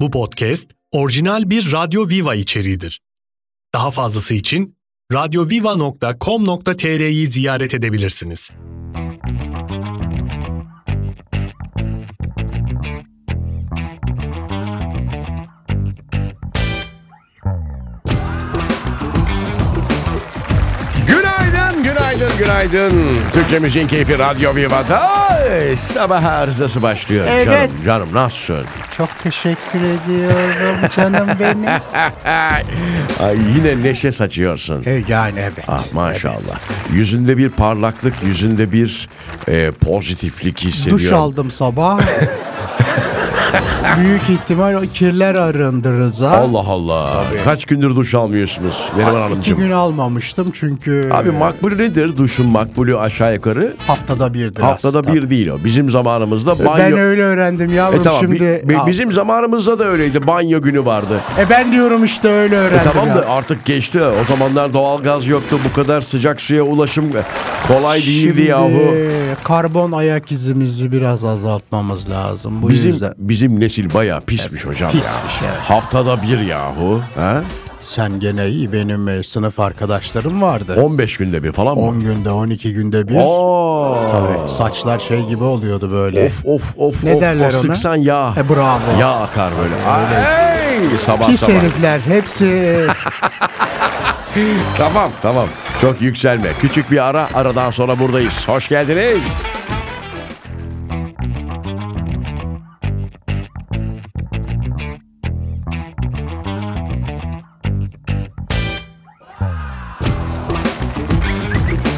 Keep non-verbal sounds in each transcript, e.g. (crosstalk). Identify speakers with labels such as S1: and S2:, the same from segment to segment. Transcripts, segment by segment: S1: Bu podcast orijinal bir Radyo Viva içeriğidir. Daha fazlası için radyoviva.com.tr'yi ziyaret edebilirsiniz.
S2: Günaydın, günaydın, günaydın. Türkçe Müziğin Keyfi Radyo Viva'da e, sabah arızası başlıyor.
S3: Evet.
S2: Canım, canım nasılsın?
S3: Çok teşekkür ediyorum canım (laughs) benim.
S2: Ay, yine neşe saçıyorsun.
S3: E, yani evet.
S2: Ah maşallah. Yüzünde bir parlaklık, yüzünde bir e, pozitiflik hissediyorum.
S3: Duş aldım (laughs) sabah. Büyük ihtimal o kirler arındı Rıza.
S2: Allah Allah. Kaç gündür duş almıyorsunuz Neriman
S3: İki
S2: Hanımcığım?
S3: gün almamıştım çünkü
S2: Abi makbul nedir? Duşun makbulü aşağı yukarı.
S3: haftada birdir
S2: Haftada
S3: aslında.
S2: bir değil o. Bizim zamanımızda
S3: E, Ben
S2: banyo...
S3: öyle öğrendim yavrum
S2: E tamam, bi-
S3: şimdi.
S2: bi-
S3: Aa,
S2: bizim zamanımızda da öyleydi. Banyo günü vardı.
S3: E ben diyorum işte öyle öğrendim.
S2: E, Tamam
S3: ya.
S2: da artık geçti. O zamanlar doğalgaz yoktu. Bu kadar sıcak suya ulaşım kolay değildi
S3: Şimdi
S2: yahu.
S3: karbon ayak izimizi biraz azaltmamız lazım. Bu
S2: Bizim
S3: yüzden
S2: bizim nesil bayağı pismiş hocam
S3: pismiş,
S2: ya.
S3: evet.
S2: Haftada bir yahu. Ha?
S3: sen gene iyi benim e, sınıf arkadaşlarım vardı.
S2: 15 günde bir falan mı?
S3: 10 günde 12 günde bir.
S2: Oo.
S3: Tabii. Saçlar şey gibi oluyordu böyle.
S2: Of of of.
S3: Ne
S2: of,
S3: derler
S2: o
S3: ona?
S2: sıksan yağ.
S3: E, bravo.
S2: Yağ akar böyle. Ay, sabah
S3: Pis
S2: sabah. (laughs)
S3: herifler hepsi.
S2: Tamam tamam. Çok yükselme. Küçük bir ara. Aradan sonra buradayız. Hoş geldiniz.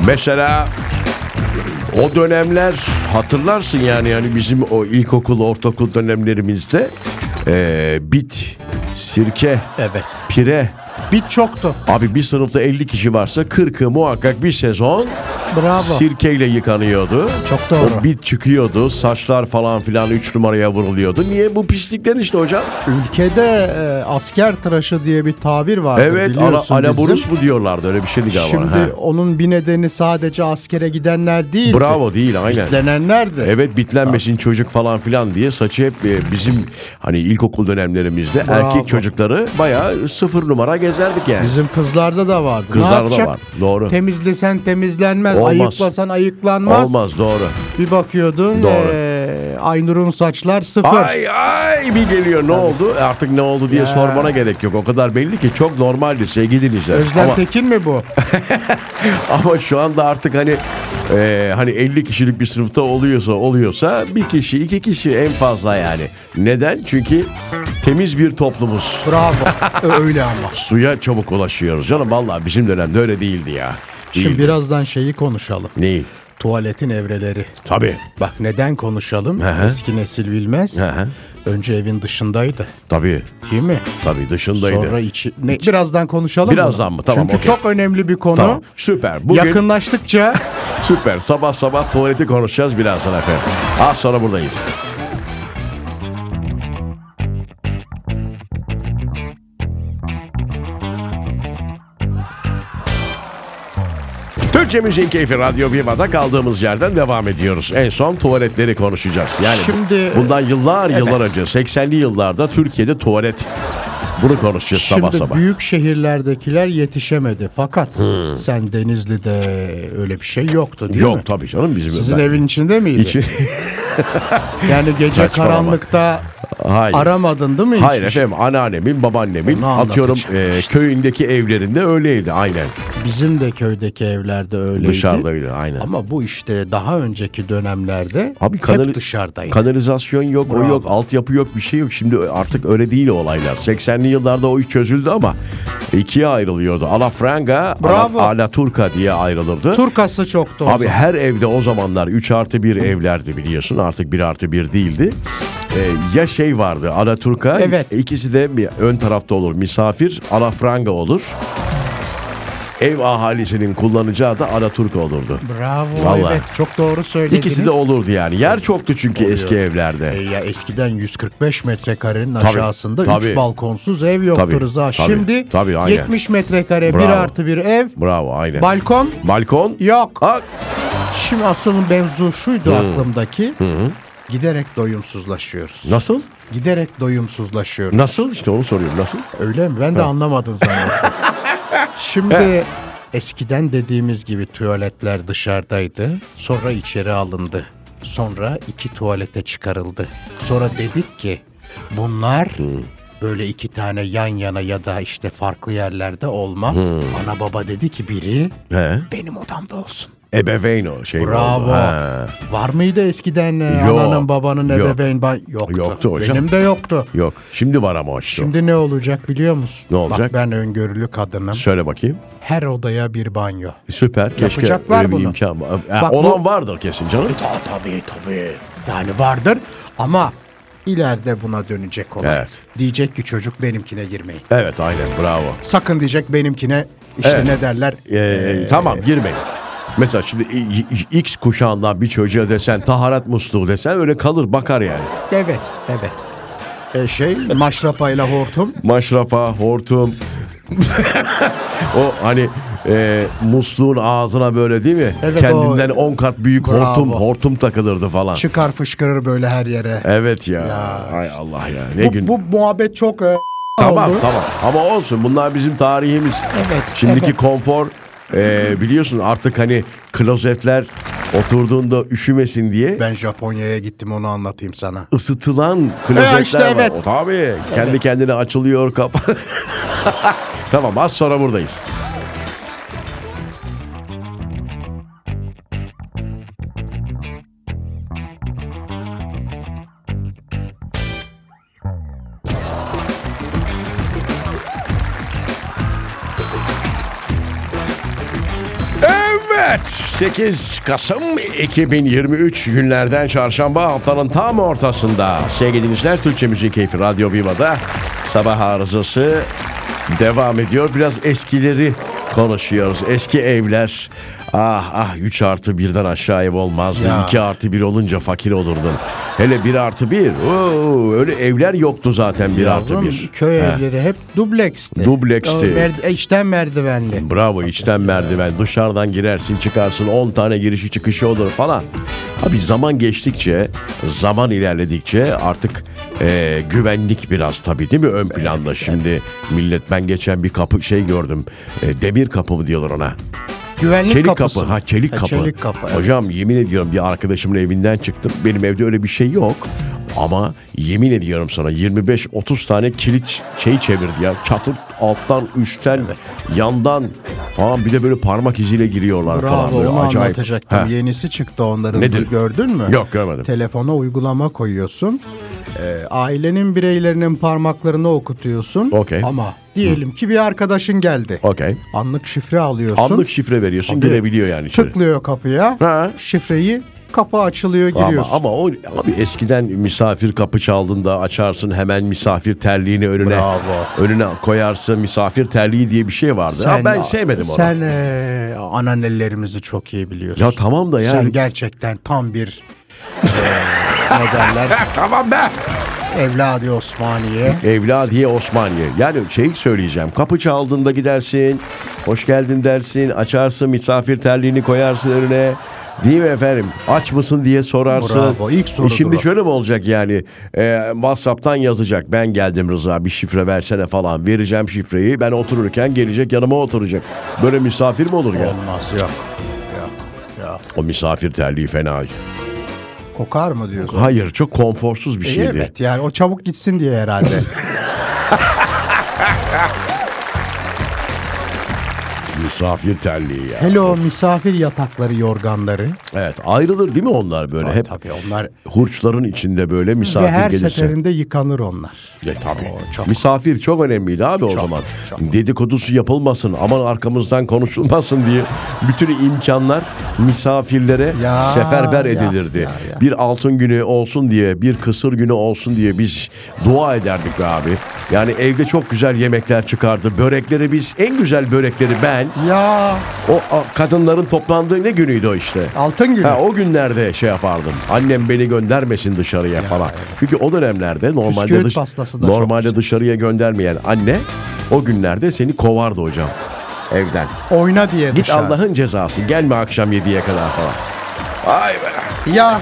S2: Mesela o dönemler hatırlarsın yani yani bizim o ilkokul ortaokul dönemlerimizde eee, bit, sirke,
S3: evet.
S2: pire,
S3: Bit çoktu.
S2: Abi bir sınıfta 50 kişi varsa 40'ı muhakkak bir sezon
S3: Bravo.
S2: sirkeyle yıkanıyordu.
S3: Çok doğru.
S2: O bit çıkıyordu. Saçlar falan filan 3 numaraya vuruluyordu. Niye bu pislikler işte hocam?
S3: Ülkede e, asker tıraşı diye bir tabir vardı
S2: evet ala,
S3: biliyorsun bizim.
S2: alaburus mu diyorlardı öyle bir şeydi galiba.
S3: Şimdi
S2: Ha.
S3: onun bir nedeni sadece askere gidenler değil.
S2: Bravo değil aynen.
S3: Denenlerdi.
S2: Evet bitlenmesin çocuk falan filan diye saçı hep e, bizim hani ilkokul dönemlerimizde
S3: Bravo.
S2: erkek çocukları bayağı sıfır numara gezerdik yani.
S3: Bizim kızlarda da vardı.
S2: Kızlarda
S3: ne yapacak?
S2: var, doğru.
S3: Temizlesen temizlenmez.
S2: Olmaz.
S3: Ayıklasan ayıklanmaz.
S2: Olmaz doğru.
S3: Bir bakıyordun
S2: Doğru.
S3: e, Aynur'un saçlar sıfır.
S2: Ay ay bir geliyor ne oldu E artık ne oldu diye
S3: Ya.
S2: sormana gerek yok. O kadar belli ki çok normaldi sevgili dinleyiciler.
S3: Özlem
S2: Ama,
S3: Tekin
S2: (laughs)
S3: mi bu?
S2: ama şu anda artık hani e, hani 50 kişilik bir sınıfta oluyorsa oluyorsa bir kişi iki kişi en fazla yani. Neden? Çünkü temiz bir toplumuz.
S3: Bravo. öyle ama.
S2: Suya çabuk ulaşıyoruz canım. Vallahi bizim dönemde öyle değildi ya.
S3: Şimdi
S2: Değildi.
S3: birazdan şeyi konuşalım.
S2: Neyi?
S3: Tuvaletin evreleri.
S2: Tabii.
S3: Bak neden konuşalım?
S2: hı.
S3: Eski nesil bilmez.
S2: Hı hı.
S3: Önce evin dışındaydı.
S2: Tabii.
S3: Değil mi?
S2: Tabii dışındaydı.
S3: Sonra içi... Ne, birazdan konuşalım
S2: Birazdan mı? Tamam,
S3: Çünkü
S2: okey.
S3: çok önemli bir konu.
S2: Tamam. Süper. Bugün
S3: Yakınlaştıkça
S2: süper. Sabah sabah tuvaleti konuşacağız birazdan efendim. Az sonra buradayız. Türkçe Müziğin Keyfi Radyo Viva'da kaldığımız yerden devam ediyoruz. En son tuvaletleri konuşacağız. Yani
S3: Şimdi-
S2: bundan yıllar yıllar önce 80'li yıllarda Türkiye'de tuvalet bunu konuşacağız (laughs) sabah
S3: şimdi
S2: sabah.
S3: büyük şehirlerdekiler yetişemedi. Fakat sen Denizli'de öyle bir şey yoktu değil
S2: Yok
S3: mi?
S2: tabii canım bizim
S3: Sizin
S2: ben-
S3: evin içinde miydi?
S2: İçi- (laughs)
S3: Yani gece
S2: Saçmalama.
S3: karanlıkta
S2: Hayır.
S3: aramadın değil mi? hiçbir şey-
S2: Hayır efendim anneannemin babaannemin
S3: Onu
S2: atıyorum
S3: anlatacağım
S2: e,
S3: işte.
S2: köyündeki evlerinde öyleydi aynen
S3: şey? Bizim de köydeki evlerde öyleydi.
S2: dışarıdaydı aynen.
S3: Ama bu işte daha önceki dönemlerde
S2: Abi kanali-
S3: hep dışarıdaydı.
S2: Kanalizasyon yok, o
S3: Bravo.
S2: yok, altyapı yok, bir şey yok. Şimdi artık öyle değil o olaylar. 80'li yıllarda o iş çözüldü ama ikiye ayrılıyordu. Alafranga,
S3: Bravo.
S2: Ala, Alaturka diye ayrılırdı.
S3: Turkası çoktu o
S2: Abi
S3: zaman.
S2: her evde o zamanlar 3 artı 1 evlerdi biliyorsun. Artık 1 artı 1 değildi. Ee, ya şey vardı Alaturka.
S3: Evet.
S2: ikisi de bir ön tarafta olur. Misafir Alafranga olur. Ev ahalisinin kullanacağı da Alaturka olurdu.
S3: Bravo
S2: Vallahi.
S3: evet çok doğru söylediniz.
S2: İkisi de olurdu yani. Yer çoktu çünkü eski evlerde.
S3: E ya eskiden 145 metrekarenin
S2: Tabii,
S3: aşağısında
S2: tabii.
S3: 3 balkonsuz ev yoktu
S2: Tabii,
S3: Rıza.
S2: tabii,
S3: Şimdi
S2: tabii, aynen.
S3: 70 metrekare
S2: Bravo.
S3: 1 artı 1 ev
S2: Bravo aynen.
S3: balkon
S2: Balkon.
S3: yok.
S2: Aa,
S3: Şimdi asıl mevzu şuydu aklımdaki. Giderek doyumsuzlaşıyoruz.
S2: Nasıl?
S3: Giderek doyumsuzlaşıyoruz.
S2: Nasıl? İşte onu soruyorum. Nasıl?
S3: Öyle mi? Ben de anlamadın zannettim.
S2: (laughs)
S3: Şimdi eskiden dediğimiz gibi tuvaletler dışarıdaydı. Sonra içeri alındı. Sonra iki tuvalete çıkarıldı. Sonra dedik ki bunlar böyle iki tane yan yana ya da işte farklı yerlerde olmaz. Ana baba dedi ki biri
S2: He.
S3: benim odamda olsun.
S2: Ebeveyn o şey.
S3: Bravo.
S2: oldu. Ha.
S3: Var mıydı eskiden e,
S2: Yok.
S3: ananın babanın
S2: Yok.
S3: ebeveyn ba- yoktu.
S2: Yoktu hocam.
S3: Benim de yoktu.
S2: Yok. Şimdi var ama o işte.
S3: Şimdi ne olacak biliyor musun?
S2: Ne olacak?
S3: Bak ben öngörülü kadınım.
S2: Söyle bakayım.
S3: Her odaya bir banyo.
S2: Süper. Keşke
S3: Yapacaklar
S2: öyle bir
S3: bunu.
S2: imkan var. Ha,
S3: Bak
S2: olan
S3: bu-
S2: vardır kesin canım.
S3: E, Ta, tabii tabii. Yani vardır ama ileride buna dönecek olan.
S2: Evet.
S3: Diyecek ki çocuk benimkine girmeyin.
S2: Evet aynen bravo.
S3: Sakın diyecek benimkine işte
S2: Evet.
S3: ne derler?
S2: Ee, tamam girmeyin. Mesela şimdi i- i- X kuşağından bir çocuğa desen taharat musluğu desen öyle kalır bakar yani.
S3: Evet, evet. E şey maşrapayla hortum
S2: Maşrafa, hortum. (laughs) o hani e, musluğun ağzına böyle değil mi?
S3: Evet,
S2: Kendinden
S3: o-
S2: 10 kat büyük
S3: Bravo.
S2: hortum hortum takılırdı falan.
S3: çıkar fışkırır böyle her yere.
S2: Evet ya.
S3: Ya.
S2: Ay Allah ya. Ne
S3: bu,
S2: gün.
S3: bu muhabbet çok e,
S2: tamam
S3: oldu.
S2: tamam. Ama olsun bunlar bizim tarihimiz.
S3: Evet,
S2: Şimdiki
S3: evet.
S2: konfor e, biliyorsun artık hani klozetler oturduğunda üşümesin diye
S3: Ben Japonya'ya gittim onu anlatayım sana.
S2: ısıtılan klozetler
S3: işte
S2: var.
S3: evet.
S2: O tabii. Kendi kendine açılıyor kapan. (laughs) tamam az sonra buradayız. Evet 8 Kasım 2023 günlerden çarşamba haftanın tam ortasında sevgili dinleyiciler Türkçe Müzik Keyfi Radyo Viva'da sabah arızası devam ediyor. Biraz eskileri konuşuyoruz. Eski evler ah ah 3 artı birden aşağı ev olmazdı.
S3: Ya.
S2: 2 artı 1 olunca fakir olurdun. Hele 1 artı 1 oo, öyle evler yoktu zaten 1 artı
S3: Yavrum,
S2: 1.
S3: Köy evleri hep dubleksti.
S2: Dubleksti.
S3: O Merd- e, içten merdivenli.
S2: Bravo içten merdiven dışarıdan girersin çıkarsın 10 tane girişi çıkışı olur falan. Abi zaman geçtikçe zaman ilerledikçe artık e, güvenlik biraz tabii değil mi ön planda şimdi millet ben geçen bir kapı şey gördüm E, demir kapı mı diyorlar ona
S3: Güvenlik
S2: çelik
S3: kapısı.
S2: kapı ha çelik
S3: Ha,
S2: kapı.
S3: Çelik kapı. evet.
S2: Hocam yemin ediyorum bir arkadaşımın evinden çıktım benim evde öyle bir şey yok ama yemin ediyorum sana 25-30 tane kilit şey çevirdi ya. Çatır alttan, üstten, yandan falan bir de böyle parmak iziyle giriyorlar falan.
S3: Bravo
S2: Böyle
S3: onu
S2: acayip.
S3: anlatacaktım.
S2: Ha.
S3: Yenisi çıktı onların.
S2: Nedir?
S3: Gördün mü?
S2: Yok, görmedim.
S3: Telefona uygulama koyuyorsun. Ee, ailenin bireylerinin parmaklarını okutuyorsun.
S2: Okey.
S3: Ama diyelim ki bir arkadaşın geldi.
S2: Okey.
S3: Anlık şifre alıyorsun.
S2: Anlık şifre veriyorsun
S3: Tabii.
S2: girebiliyor yani içeri.
S3: Tıklıyor kapıya.
S2: Ha.
S3: Şifreyi kapı açılıyor
S2: Ama,
S3: giriyorsun.
S2: ama o abi eskiden misafir kapı çaldığında açarsın hemen misafir terliğini önüne
S3: Bravo.
S2: önüne koyarsın misafir terliği diye bir şey vardı. Ha, ben sevmedim onu.
S3: Sen e, anneannelerimizi çok iyi biliyorsun.
S2: Ya tamam da yani-
S3: Sen gerçekten tam bir e, ne derler
S2: (laughs) Tamam be. E-
S3: evladı Osmaniye.
S2: Evladiye Osmaniye. Yani şey söyleyeceğim. Kapı çaldığında gidersin. Hoş geldin dersin. Açarsın misafir terliğini koyarsın önüne. Değil mi efendim? Aç mısın diye sorarsın.
S3: Bravo, ilk sorudur
S2: E Şimdi
S3: o.
S2: şöyle mi olacak yani? Ee, WhatsApp'tan yazacak. Ben geldim Rıza bir şifre versene falan. Vereceğim şifreyi. Ben otururken gelecek yanıma oturacak. Böyle misafir mi olur ya?
S3: Olmaz yok. Yok. Yok.
S2: O misafir terliği fena.
S3: Kokar mı diyorsun?
S2: Hayır çok konforsuz bir şeydi.
S3: E, Evet yani o çabuk gitsin diye herhalde.
S2: (laughs) Misafir terliği ya.
S3: Hele o misafir yatakları, yorganları.
S2: Evet ayrılır değil mi onlar böyle? Hep
S3: Tabii onlar
S2: hurçların içinde böyle misafir
S3: ve her
S2: gelirse.
S3: seferinde yıkanır onlar.
S2: Ya tabii.
S3: O çok-
S2: Misafir çok önemliydi abi o zaman. Dedikodusu yapılmasın, aman arkamızdan konuşulmasın diye bütün imkanlar misafirlere
S3: Ya,
S2: seferber
S3: ya,
S2: edilirdi.
S3: ya, ya.
S2: Bir altın günü olsun diye, bir kısır günü olsun diye biz dua ederdik be abi. Yani evde çok güzel yemekler çıkardı. Börekleri biz, en güzel börekleri ben,
S3: Ya
S2: o a- kadınların toplandığı ne günüydü o işte?
S3: altın günü.
S2: Ha, o günlerde şey yapardım. Annem beni göndermesin dışarıya falan. Çünkü o dönemlerde normalde
S3: Bisküvit
S2: dış,
S3: pastası da çok
S2: normalde
S3: güzel.
S2: dışarıya göndermeyen anne o günlerde seni kovardı hocam evden.
S3: Oyna diye
S2: Git
S3: dışarı.
S2: Allah'ın cezası. Gelme akşam 7'ye kadar falan. Ay be.
S3: Ya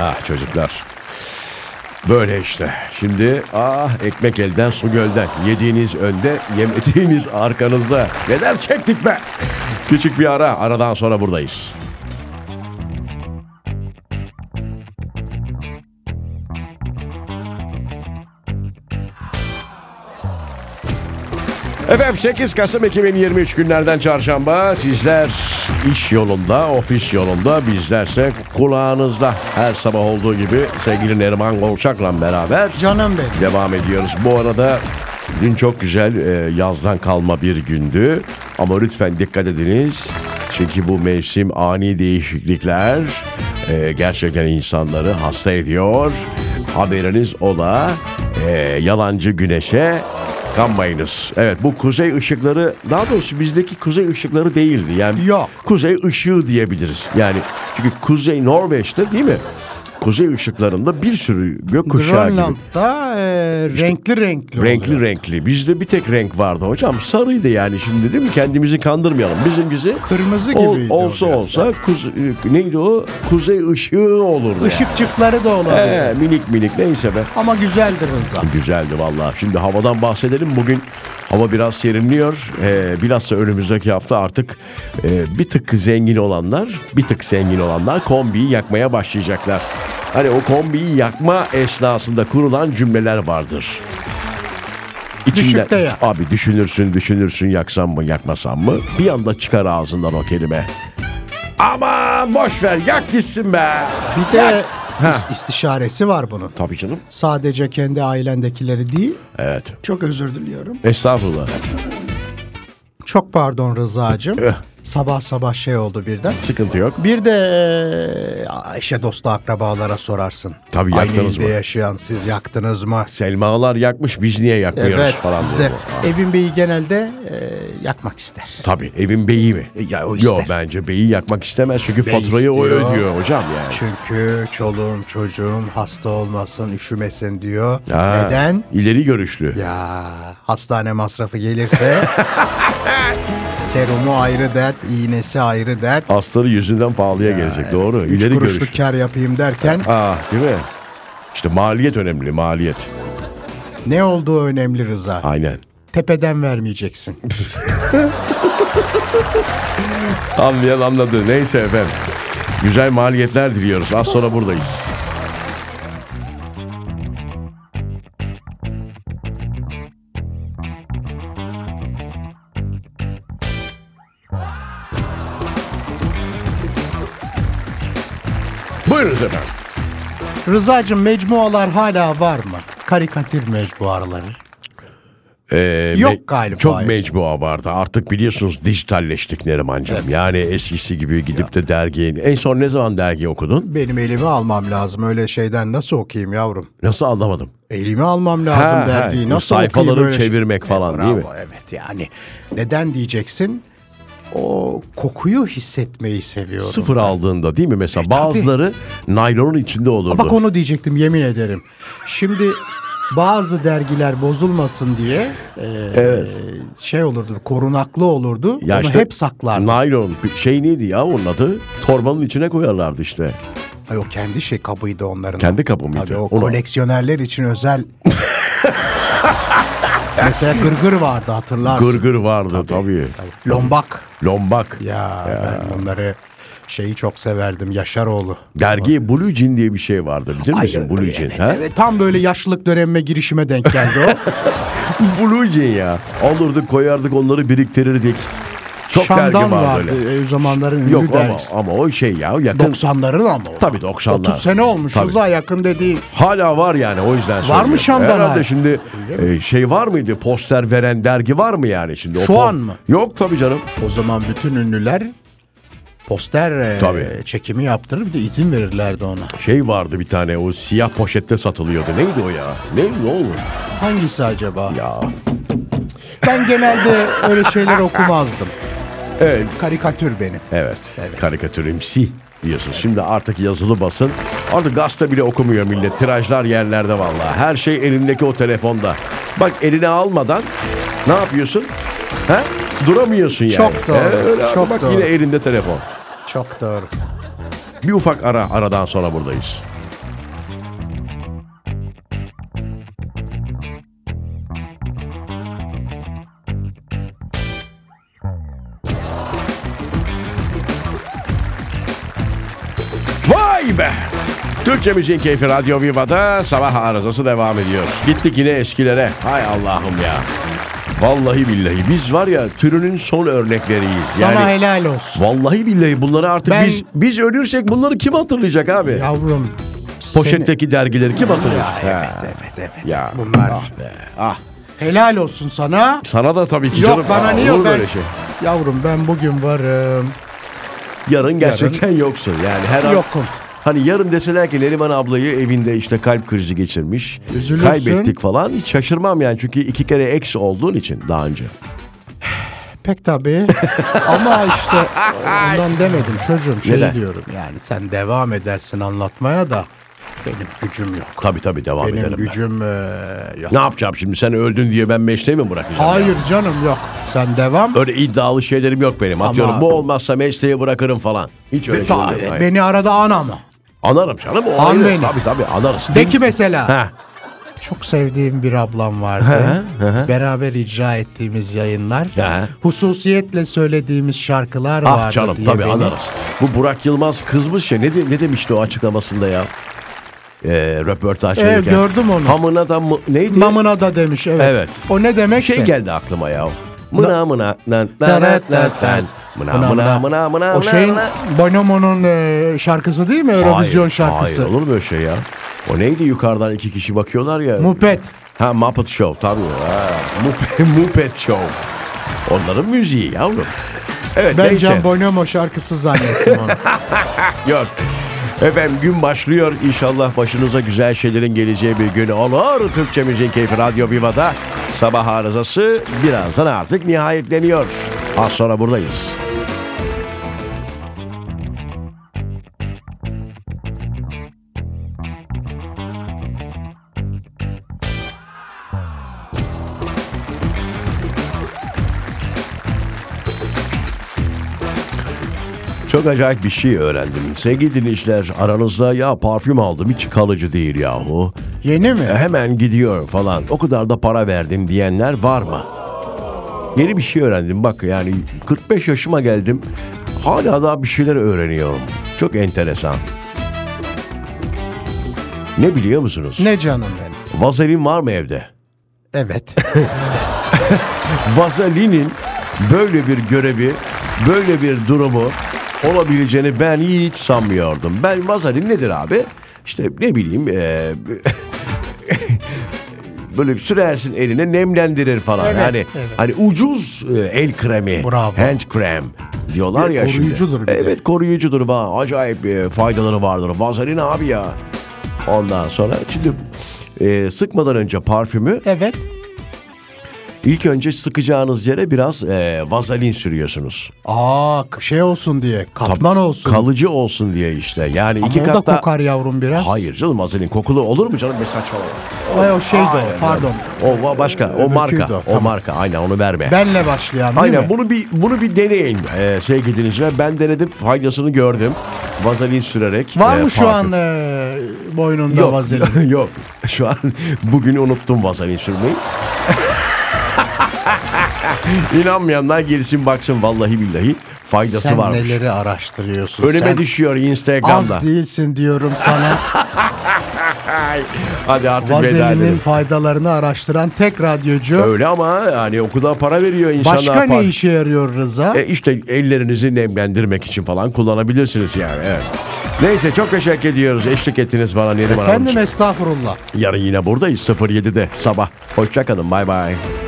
S2: Ah çocuklar. Böyle işte. Şimdi ah ekmek elden su gölden. Yediğiniz önde, yemediğiniz arkanızda. Neler çektik be? Küçük bir ara. Aradan sonra buradayız. Efendim 8 Kasım 2023 günlerden çarşamba sizler iş yolunda, ofis yolunda bizlerse kulağınızda her sabah olduğu gibi sevgili Neriman Golçak'la beraber
S3: Canım benim.
S2: devam ediyoruz. Bu arada dün çok güzel e, yazdan kalma bir gündü ama lütfen dikkat ediniz. Çünkü bu mevsim ani değişiklikler e, gerçekten insanları hasta ediyor. Haberiniz ola e, yalancı güneşe kanmayınız. Evet bu kuzey ışıkları daha doğrusu bizdeki kuzey ışıkları değildi. Yani
S3: Yok.
S2: kuzey ışığı diyebiliriz. Yani çünkü kuzey Norveç'te değil mi? Kuzey ışıklarında bir sürü gökkuşağı gibi.
S3: Grönland'da e, renkli renkli
S2: Renkli
S3: oluyor.
S2: renkli. Bizde bir tek renk vardı hocam. Sarıydı yani şimdi değil mi? Kendimizi kandırmayalım. Bizimkisi
S3: Kırmızı
S2: ol-
S3: gibiydi o
S2: olsa
S3: biraz.
S2: olsa kuz- e, neydi o? Kuzey ışığı olurdu.
S3: Işıkçıkları da
S2: Yani.
S3: olabilir.
S2: Ee, minik minik neyse be.
S3: Ama güzeldir Rıza.
S2: Güzeldi vallahi. Şimdi havadan bahsedelim. Bugün hava biraz serinliyor. Ee, bilhassa önümüzdeki hafta artık e, bir tık zengin olanlar, bir tık zengin olanlar kombiyi yakmaya başlayacaklar. Hani o kombiyi yakma esnasında kurulan cümleler vardır.
S3: Düşük de yak.
S2: Abi düşünürsün düşünürsün yaksam mı yakmasam mı? Bir anda çıkar ağzından o kelime. Aman boş ver yak gitsin be.
S3: Bir de is- istişaresi var bunun.
S2: Tabii canım.
S3: Sadece kendi ailendekileri değil.
S2: Evet.
S3: Çok özür diliyorum.
S2: Estağfurullah.
S3: Çok pardon Rıza'cığım. sabah sabah şey oldu birden.
S2: Sıkıntı yok.
S3: Bir de e, eşe dostu akrabalara sorarsın.
S2: Tabii,
S3: Aynı
S2: yaktınız
S3: ilde
S2: mı?
S3: yaşayan siz yaktınız mı?
S2: Selmalar yakmış biz niye yakmıyoruz
S3: Evet. E-
S2: falan
S3: biz
S2: diyor.
S3: de evin beyi genelde e, yakmak ister.
S2: Tabii evin beyi mi?
S3: E, ya o
S2: Yok
S3: ister.
S2: bence beyi yakmak istemez çünkü
S3: Bey
S2: faturayı o
S3: istiyor.
S2: ödüyor hocam yani.
S3: Çünkü çoluğum çocuğum hasta olmasın, üşümesin diyor.
S2: Ha,
S3: Neden?
S2: İleri görüşlü.
S3: Ya hastane masrafı gelirse serumu ayrı dert, iğnesi ayrı dert.
S2: Asları yüzünden pahalıya gelecek doğru.
S3: Üç
S2: İleri
S3: kuruşluk
S2: görüşlü.
S3: kar yapayım derken
S2: Ah değil mi? İşte maliyet önemli maliyet.
S3: ne olduğu önemli Rıza.
S2: Aynen.
S3: Tepeden vermeyeceksin.
S2: Anlayan anladı. Neyse efendim. Güzel maliyetler diliyoruz. Az sonra buradayız. Buyurunuz efendim.
S3: Rıza'cığım mecmualar hala var mı? Karikatür mecmuaları.
S2: Ee,
S3: Yok
S2: me-
S3: galiba,
S2: Çok
S3: hayır.
S2: mecmua vardı. Artık biliyorsunuz dijitalleştik Nerimancığım. Yani eskisi gibi gidip de dergiyi... En son ne zaman dergi okudun?
S3: Benim elimi almam lazım. Öyle şeyden nasıl okuyayım yavrum?
S2: Nasıl anlamadım?
S3: Elimi almam lazım
S2: Ha,
S3: dergiyi.
S2: ha.
S3: Nasıl
S2: Sayfaları
S3: okuyayım öyle şey-
S2: çevirmek falan,
S3: Bravo,
S2: değil mi?
S3: Evet yani. Neden diyeceksin? O kokuyu hissetmeyi seviyorum.
S2: Sıfır aldığında değil mi mesela bazıları naylonun içinde olurdu.
S3: E, Bak onu diyecektim yemin ederim. Şimdi bazı dergiler bozulmasın diye e, şey olurdu, korunaklı olurdu.
S2: Ya
S3: onu
S2: işte
S3: hep saklardı.
S2: Naylon bir şey neydi ya onun adı? Torbanın içine koyarlardı işte.
S3: Ay, o kendi şey kabıydı onların.
S2: Kendi kabı mıydı?
S3: Tabii o
S2: Onu-
S3: koleksiyonerler
S2: (laughs)
S3: için özel. Mesela gırgır vardı hatırlarsın.
S2: Gırgır vardı tabii.
S3: Lombak.
S2: Lombak.
S3: Ya, ben bunları şeyi çok severdim Yaşaroğlu.
S2: Dergi Blue Jean diye bir şey vardı bilir misin Blue Jean? ha?
S3: Evet, tam böyle yaşlılık dönemime girişime denk geldi (laughs) o.
S2: Blue Jean ya. Alırdık koyardık onları biriktirirdik. Çok dergi
S3: Şandan
S2: vardı,
S3: vardı.
S2: öyle.
S3: e, o zamanların ünlü
S2: Yok ama,
S3: dergisi.
S2: ama o şey ya yakın.
S3: 90'ların ama o.
S2: Tabii 90'lar.
S3: 30 sene olmuş
S2: Tabii.
S3: Rıza yakın dediği.
S2: Hala var yani o yüzden söylüyorum.
S3: mı Şam'dan
S2: Herhalde
S3: hala?
S2: şimdi e, şey var mıydı poster veren dergi var mı yani şimdi? O
S3: Şu
S2: po-
S3: an mı?
S2: Yok tabii canım.
S3: O zaman bütün ünlüler poster e,
S2: Tabii.
S3: çekimi yaptırır bir de izin verirlerdi ona.
S2: Şey vardı bir tane o siyah poşette satılıyordu. Neydi o ya? Ne, ne olur?
S3: Hangisi acaba?
S2: Ya.
S3: Ben (laughs) genelde öyle şeyler okumazdım.
S2: Evet.
S3: Karikatür benim.
S2: evet. Karikatürimsi diyorsun. Şimdi artık yazılı basın. Artık gazete bile okumuyor millet. Tirajlar yerlerde vallahi. Her şey elindeki o telefonda. Bak eline almadan ne yapıyorsun? He? Duramıyorsun yani.
S3: Çok doğru,
S2: Ee, öyle abi.
S3: çok
S2: Bak
S3: doğru.
S2: yine elinde telefon.
S3: Çok doğru.
S2: Bir ufak ara aradan sonra buradayız. Vay be. Türkçe Müziğin Keyfi Radyo Viva'da sabah arızası devam ediyor. Gittik yine eskilere. Hay Allah'ım ya. Vallahi billahi biz var ya türünün son örnekleriyiz.
S3: Sana
S2: yani
S3: helal olsun.
S2: vallahi billahi bunları artık
S3: Ben-
S2: biz biz ölürsek bunları kim hatırlayacak abi?
S3: Yavrum.
S2: Poşetteki dergileri kim hatırlayacak?
S3: seni-
S2: Ha.
S3: Ya, evet evet evet.
S2: Ya.
S3: Bunlar.
S2: Ah.
S3: Helal olsun sana.
S2: Sana da tabii ki
S3: Yok
S2: canım.
S3: bana
S2: Aa,
S3: niye
S2: olur
S3: o ben?
S2: böyle şey.
S3: Yavrum ben bugün varım.
S2: Yarın gerçekten yoksun yani her an.
S3: Yokum.
S2: Hani yarın deseler ki Neriman ablayı evinde işte kalp krizi geçirmiş.
S3: Üzülürsün.
S2: Kaybettik falan hiç şaşırmam yani çünkü iki kere ex olduğun için daha önce.
S3: Pek tabii. Ama işte ondan demedim çocuğum. Şey
S2: Neden?
S3: diyorum yani sen devam edersin anlatmaya da benim gücüm yok.
S2: Tabii tabii devam
S3: benim
S2: edelim ben.
S3: gücüm e, eee, yok.
S2: Ne yapacağım şimdi sen öldün diye ben mesleği mi bırakacağım? ya?
S3: Hayır canım yok. Sen devam.
S2: Öyle iddialı şeylerim yok benim. Atıyorum
S3: Ama-
S2: bu olmazsa mesleği bırakırım falan. Hiç öyle şey
S3: Ta-
S2: yok. Hayır.
S3: beni arada an ama.
S2: Anarım canım. O
S3: An
S2: ayrı.
S3: beni.
S2: Tabii tabii anarız.
S3: De ki mesela.
S2: Ha.
S3: Çok sevdiğim bir ablam vardı. Beraber icra ettiğimiz yayınlar.
S2: Hı.
S3: Hususiyetle söylediğimiz şarkılar
S2: Ah
S3: vardı
S2: canım
S3: diye
S2: tabii
S3: beni-
S2: anarız. Bu Burak Yılmaz kızmış ya ne, de- ne demişti o açıklamasında ya? Ee, röportaj
S3: Ee,
S2: verirken.
S3: gördüm onu.
S2: Hamına da mı, neydi?
S3: Mamına da demiş evet.
S2: Evet.
S3: O ne demek
S2: şey geldi aklıma ya. Mına mına nan nan nan nan nan. Mına
S3: Mına
S2: mına mına mına
S3: O şeyin
S2: mına.
S3: Bonomo'nun e, şarkısı değil mi? Eurovision
S2: Hayır,
S3: şarkısı.
S2: Hayır olur mu öyle şey ya? O neydi yukarıdan iki kişi bakıyorlar ya.
S3: Muppet.
S2: Ha Muppet Show tabii. Ha, Muppet, (laughs) Muppet Show. Onların müziği yavrum. Evet
S3: Ben
S2: neyse.
S3: Can Bonomo şarkısı zannettim
S2: (laughs)
S3: onu.
S2: Yok. Efendim gün başlıyor. İnşallah başınıza güzel şeylerin geleceği bir gün olur. Türkçe Müzik Keyfi Radyo Viva'da sabah arızası birazdan artık nihayetleniyor. Az sonra buradayız. Çok acayip bir şey öğrendim. Sevgili dinleyiciler aranızda ya parfüm aldım hiç kalıcı değil yahu.
S3: Yeni mi?
S2: E, Hemen gidiyor falan o kadar da para verdim diyenler var mı? Yeni bir şey öğrendim bak yani 45 yaşıma geldim hala daha bir şeyler öğreniyorum. Çok enteresan. Ne biliyor musunuz?
S3: Ne canım benim?
S2: Vazelin var mı evde?
S3: Evet.
S2: Vazelinin böyle bir görevi, böyle bir durumu olabileceğini ben hiç sanmıyordum. Ben vazelin nedir abi? İşte ne bileyim eee, (laughs) böyle sürersin eline nemlendirir falan.
S3: Evet,
S2: hani
S3: evet.
S2: hani ucuz e, el kremi,
S3: Bravo.
S2: hand krem diyorlar
S3: Bir
S2: ya şimdi.
S3: koruyucudur bir de.
S2: Evet koruyucudur va acayip e, faydaları vardır. Vazelin abi ya. Ondan sonra şimdi e, sıkmadan önce parfümü
S3: evet.
S2: İlk önce sıkacağınız yere biraz e, vazelin sürüyorsunuz.
S3: Aa şey olsun diye. Katman olsun.
S2: Kalıcı olsun diye işte. Yani
S3: Ama
S2: iki
S3: o da
S2: kat daha-
S3: kokar yavrum biraz.
S2: Hayır canım vazelin kokulu olur mu canım? Ne saçmalama.
S3: Ay, o şey de o,
S2: Hayır.
S3: pardon.
S2: O va- başka. O
S3: Öbürküydü
S2: marka.
S3: o,
S2: O,
S3: tamam.
S2: marka. Aynen onu verme.
S3: Benle başlayan değil
S2: Aynen
S3: mi?
S2: bunu bir bunu bir deneyin e, sevgili dinleyiciler. Ben denedim faydasını gördüm. Vazelin sürerek.
S3: Var
S2: e,
S3: mı şu
S2: parfüm.
S3: an e, boynunda
S2: Yok, (laughs)
S3: vazelin?
S2: yok. Şu an bugün unuttum vazelin sürmeyi. (laughs) İnanmayanlar girsin baksın vallahi billahi faydası
S3: Sen
S2: varmış.
S3: neleri araştırıyorsun?
S2: Önüme
S3: Sen
S2: düşüyor
S3: az
S2: Instagram'da.
S3: değilsin diyorum sana.
S2: Hadi artık veda
S3: Vazelinin
S2: edelim.
S3: faydalarını araştıran tek radyocu.
S2: Öyle ama yani o kadar para veriyor insanlar.
S3: Başka ne
S2: Par-
S3: işe yarıyor Rıza?
S2: E işte ellerinizi nemlendirmek için falan kullanabilirsiniz yani. Evet. Neyse çok teşekkür ediyoruz. Eşlik ettiniz bana Neriman
S3: Efendim e-
S2: Hanımcığım.
S3: estağfurullah.
S2: Yarın yine buradayız 07'de sabah. Hoşçakalın bay bay.